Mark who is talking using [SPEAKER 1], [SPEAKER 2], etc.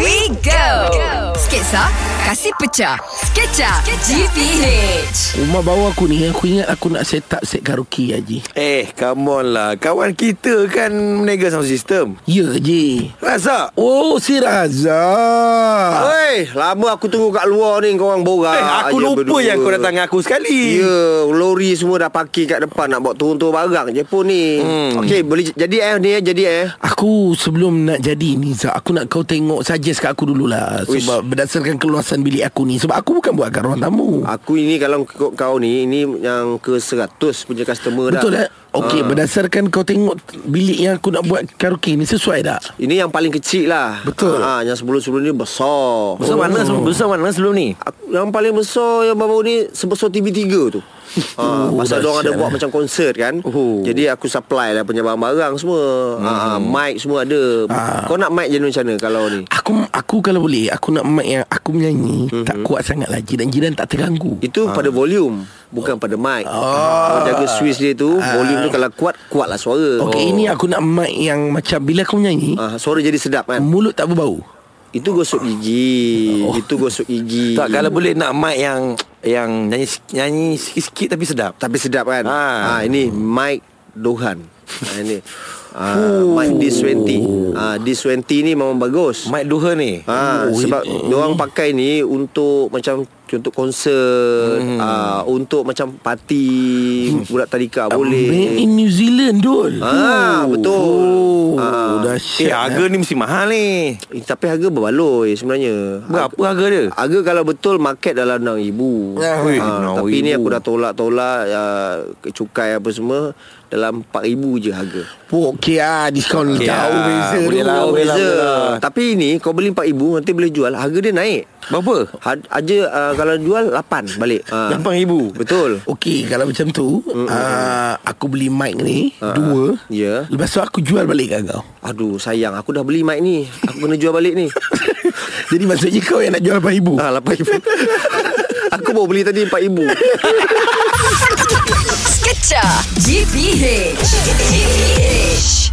[SPEAKER 1] we go. Sketsa, kasih pecah. Sketcha, GPH.
[SPEAKER 2] Rumah bawah aku ni Aku ingat aku nak set up set karaoke Haji
[SPEAKER 3] Eh, come on lah. Kawan kita kan meniaga sound system.
[SPEAKER 2] Ya Haji
[SPEAKER 3] Rasa?
[SPEAKER 2] Oh si Raza
[SPEAKER 4] Oi, lama aku tunggu kat luar ni kau orang borak.
[SPEAKER 3] Eh, aku
[SPEAKER 4] je
[SPEAKER 3] lupa
[SPEAKER 4] berdua.
[SPEAKER 3] yang kau datang dengan aku sekali.
[SPEAKER 4] Ya, lori semua dah parking kat depan nak bawa turun-turun barang je pun ni.
[SPEAKER 3] Hmm.
[SPEAKER 4] Hmm. Okey, boleh j- jadi eh ni eh, jadi eh.
[SPEAKER 2] Aku sebelum nak jadi ni Zak Aku nak kau tengok Suggest kat aku dululah
[SPEAKER 4] Uish.
[SPEAKER 2] Sebab berdasarkan keluasan bilik aku ni Sebab aku bukan buat kat ruang
[SPEAKER 3] Ah,
[SPEAKER 2] tamu
[SPEAKER 4] Aku ini kalau ikut kau ni ini yang ke 100 punya customer dah.
[SPEAKER 2] Betul eh? tak? Okey,
[SPEAKER 3] Ah.
[SPEAKER 4] Ha.
[SPEAKER 2] berdasarkan kau tengok bilik yang aku nak buat karaoke ni sesuai tak?
[SPEAKER 4] Ini yang paling kecil lah
[SPEAKER 2] Betul.
[SPEAKER 4] ha, Yang sebelum-sebelum ni besar Hmm.
[SPEAKER 3] Besar mana
[SPEAKER 2] Oh.
[SPEAKER 3] sebelum, besar mana sebelum ni?
[SPEAKER 4] Aku, Yang paling besar yang baru ni Sebesar TV3 tu ha,
[SPEAKER 2] Oh,
[SPEAKER 4] Pasal diorang ada
[SPEAKER 2] dahsyat
[SPEAKER 4] buat
[SPEAKER 2] lah.
[SPEAKER 4] macam konsert kan
[SPEAKER 3] Oh.
[SPEAKER 4] Jadi aku supply lah punya barang-barang semua ha, ha, Mic semua ada
[SPEAKER 2] Hmm. Ah.
[SPEAKER 4] Kau nak mic jenis macam mana kalau ni?
[SPEAKER 2] Aku aku kalau boleh aku nak mic yang aku
[SPEAKER 3] Mhm.
[SPEAKER 2] menyanyi mm-hmm. tak kuat sangat lah jiran-jiran tak terganggu.
[SPEAKER 4] Itu pada volume Bukan pada mic
[SPEAKER 2] Ah.
[SPEAKER 4] Kau jaga switch dia tu Volume tu kalau kuat Kuat lah suara
[SPEAKER 2] Okey, oh. ini aku nak mic yang macam bila aku
[SPEAKER 3] Ah.
[SPEAKER 2] menyanyi
[SPEAKER 4] ha, Suara jadi sedap kan
[SPEAKER 2] mulut tak berbau.
[SPEAKER 4] Itu gosok gigi Itu gosok gigi
[SPEAKER 3] Tak, kalau boleh nak mic yang yang nyanyi nyanyi sikit-sikit tapi sedap.
[SPEAKER 4] Tapi sedap kan
[SPEAKER 3] Ha.
[SPEAKER 4] ha. ha ini Mike Dohan ha, Ini ha, Mike D20 ha, D20 ni memang bagus
[SPEAKER 3] Mic Doha ni.
[SPEAKER 4] ha,
[SPEAKER 2] Oh,
[SPEAKER 4] Sebab
[SPEAKER 2] eh.
[SPEAKER 4] Diorang pakai ni Untuk macam Untuk konsert hmm. ha, Untuk macam parti
[SPEAKER 3] Hmm.
[SPEAKER 4] Budak tadika
[SPEAKER 2] Made in
[SPEAKER 4] boleh
[SPEAKER 2] New Zealand dul.
[SPEAKER 4] Ah, betul.
[SPEAKER 2] Oh,
[SPEAKER 4] Ah.
[SPEAKER 2] dahsyat.
[SPEAKER 3] Eh, harga ni mesti mahal ni.
[SPEAKER 4] eh, Tapi harga berbaloi sebenarnya
[SPEAKER 3] Berapa harga dia?
[SPEAKER 4] Harga kalau betul market lah dalam 6000.
[SPEAKER 2] Ah,
[SPEAKER 4] Ah,
[SPEAKER 3] weh,
[SPEAKER 4] tapi
[SPEAKER 3] 6,000.
[SPEAKER 4] ni aku dah tolak-tolak uh, cukai apa semua dalam 4000 je harga.
[SPEAKER 2] Oh, okey ah, diskaun
[SPEAKER 3] Okey
[SPEAKER 2] okay, jauh
[SPEAKER 3] ah,
[SPEAKER 2] beza.
[SPEAKER 3] boleh
[SPEAKER 2] tu.
[SPEAKER 3] lah,
[SPEAKER 4] Oh,
[SPEAKER 3] boleh lah,
[SPEAKER 4] beza.
[SPEAKER 3] boleh lah.
[SPEAKER 4] Tapi ni kau beli 4000 nanti boleh jual harga dia naik.
[SPEAKER 3] Berapa?
[SPEAKER 4] Had, aja uh, kalau jual 8 balik. Ah.
[SPEAKER 3] 8,000.
[SPEAKER 4] Betul.
[SPEAKER 2] Okey, kalau macam tu, ah, aku beli mic ni
[SPEAKER 3] Ah.
[SPEAKER 2] dua.
[SPEAKER 4] Ya.
[SPEAKER 2] Lepas tu aku jual balik kat kau.
[SPEAKER 4] Aduh sayang aku dah beli mic ni. Aku kena jual balik ni.
[SPEAKER 2] Jadi maksudnya kau yang nak jual 8000.
[SPEAKER 4] ah 8000. aku baru beli tadi 4000.
[SPEAKER 1] Sketcha, GPH. GPH.